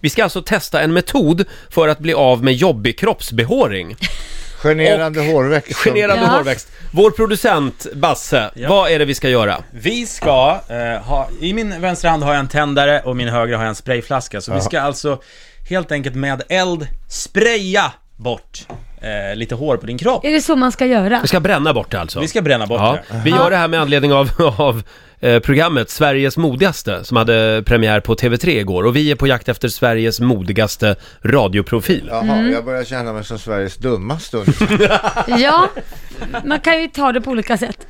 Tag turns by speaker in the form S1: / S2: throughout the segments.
S1: Vi ska alltså testa en metod för att bli av med jobbig kroppsbehåring.
S2: Generande hårväxt. som-
S1: Generande
S3: Ja.
S1: hårväxt. Vår producent Basse,
S4: Ja.
S1: vad är det vi ska göra?
S4: Vi ska eh, ha, i min vänstra hand har jag en tändare och min högra har jag en sprayflaska. Så vi ska alltså helt enkelt med eld spraya bort eh, lite hår på din kropp.
S3: Är det så man ska göra?
S1: Vi ska bränna bort det alltså.
S4: Vi ska bränna bort
S1: ja.
S4: det.
S1: Vi gör det här med anledning av, av eh, programmet Sveriges modigaste som hade premiär på TV3 igår och vi är på jakt efter Sveriges modigaste radioprofil.
S2: Jaha, jag börjar känna mig som Sveriges dummaste ungefär.
S3: Ja, man kan ju ta det på olika sätt.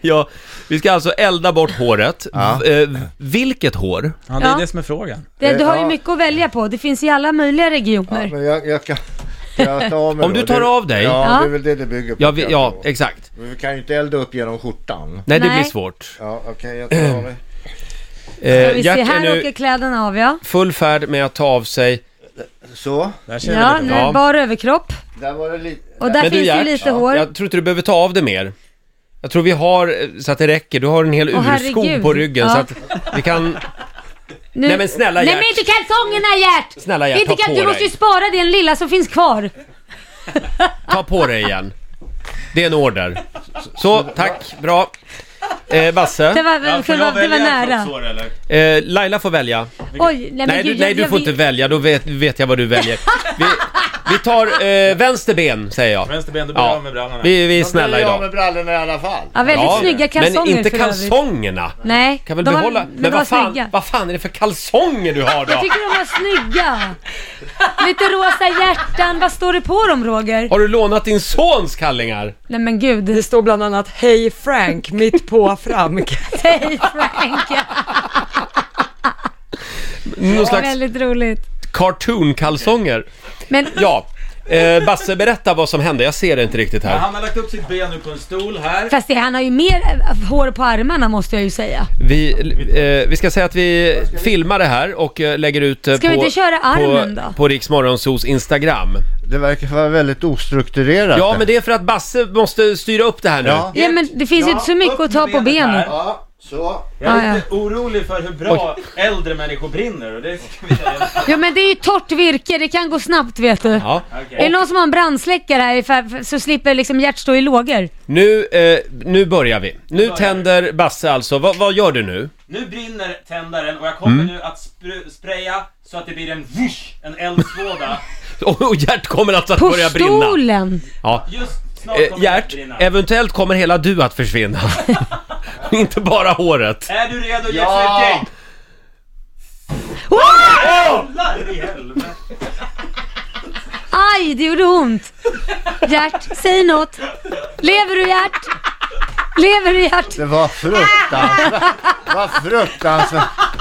S1: Ja, vi ska alltså elda bort håret.
S2: Ja.
S1: V- eh, vilket hår?
S4: Ja, det är
S3: Ja.
S4: det som är frågan.
S1: Eh,
S3: Det, du har ju
S2: Ja.
S3: mycket att välja på, det finns i alla möjliga
S2: Ja,
S3: regioner.
S2: men jag, jag kan... kan Jag ta av mig
S1: Om
S2: då?
S1: du tar
S2: Det-
S1: av dig?
S2: Ja,
S3: Ja.
S2: det är väl det det bygger på.
S1: Ja, vi,
S2: kan jag
S1: ja
S2: tro.
S1: exakt.
S2: Men vi kan ju inte elda upp genom skjortan.
S1: Nej, det
S3: Nej.
S1: blir svårt.
S2: Ja, okej, jag tar av mig.
S3: Ska
S1: Eh,
S3: vi se,
S1: Jack är
S3: här
S1: nu
S3: åker kläderna av ja.
S1: full färd med att ta av sig...
S2: Så,
S4: Där känner
S3: Ja,
S4: vi
S3: nu
S4: lite.
S3: är
S1: Ja.
S3: det bar överkropp.
S2: där var det lite...
S3: Och där
S1: Men du,
S3: finns det ju
S1: Gert,
S3: lite
S1: ja.
S3: hår.
S1: Jag tror inte du behöver ta av det mer. Jag tror vi har, eh, så att det räcker, du har en hel
S3: Åh,
S1: urskog
S3: herregud.
S1: på ryggen
S3: Ja.
S1: så att vi kan...
S3: Nu...
S1: Nej, men snälla,
S3: Nej
S1: Gert.
S3: men inte kalsongerna Gert!
S1: Snälla, Gert,
S3: inte
S1: ta på
S3: Du måste
S1: dig.
S3: ju spara den lilla som finns kvar.
S1: Ta på dig igen. Det är en order. Så, tack, bra. Eh,
S3: Det
S1: Basse,
S3: var,
S4: Ja, får
S3: det
S4: jag
S3: var, det var
S4: välja en
S3: nära.
S4: kroppshår, eller?
S1: eh, Laila får välja.
S3: Oj, nej men
S1: Nej,
S3: gud,
S1: du, nej,
S3: jag,
S1: du
S3: jag
S1: får
S3: vet-
S1: inte välja, då vet, vet jag vad du väljer. Vi, vi tar eh, vänster ben, säger jag.
S4: Vänster ben, du blir
S1: Ja.
S4: av med brallorna.
S1: Vi, vi är
S2: Då blir
S1: snälla
S2: jag av
S1: idag.
S2: med brallorna i alla fall.
S3: Ja, väldigt
S1: Ja,
S3: snygga kalsonger
S1: Men inte
S3: för övrigt.
S1: kalsongerna.
S3: Nej,
S1: Kan väl
S3: de var-
S1: behålla...
S3: men
S1: men
S3: de var
S1: vad, fan,
S3: snygga.
S1: vad fan är det för kalsonger du har
S3: Jag
S1: då?
S3: tycker de var snygga. Lite rosa hjärtan, vad står det på dem Roger?
S1: Har du lånat din sons kallingar?
S3: Nej men gud.
S5: Det står bland annat Hej Frank mitt på Frank.
S3: Hej Frank!
S1: Någon slags
S3: Väldigt roligt.
S1: cartoon-kalsonger?
S3: Men
S1: Ja. Eh, Basse, berätta vad som hände. Jag ser det inte riktigt här.
S4: Han har lagt upp sitt ben nu på en stol här.
S3: fast det, han har ju mer eh, hår på armarna måste jag ju säga.
S1: Vi, eh, vi ska säga att vi filmar det här och eh, lägger ut eh,
S3: Ska
S1: på,
S3: vi inte köra armen
S1: på,
S3: då?
S1: på Rix Morgonzos Instagram.
S2: Det verkar vara väldigt ostrukturerat.
S1: Ja, men det är för att Basse måste styra upp det här nu.
S2: Ja.
S3: Ja men det finns ju inte så mycket att ta på benen.
S2: Ja, så.
S4: Jag är
S3: Ah,
S4: lite orolig för hur bra äldre människor brinner och det ska vi säga.
S3: Ja men det är ju torrt virke, det kan gå snabbt vet du.
S1: Ja.
S3: Är det någon som har en brandsläckare här ifall- så slipper liksom Gert stå i lågor?
S1: Nu, eh, nu börjar vi. Nu tänder Basse alltså. Va, vad gör du nu?
S4: Nu brinner tändaren och jag kommer
S1: Mm.
S4: nu att spr- spraya så att det blir en vush, en eldsvåda.
S1: Och och Gert kommer alltså att
S3: På
S1: börja brinna.
S3: stolen!
S1: Ja.
S4: Just snart
S1: Eh,
S4: kommer det att
S1: Gert,
S4: brinna.
S1: eventuellt kommer hela du att försvinna. Inte bara håret.
S4: Är du redo Gert
S2: Ja!
S4: Fylking?
S3: Åh!
S4: Jävlar i helvete!
S3: Aj, det gjorde ont! Gert, säg något. Lever du Gert? Lever du Gert?
S2: Det var fruktansvärt. Vad fruktansvärt.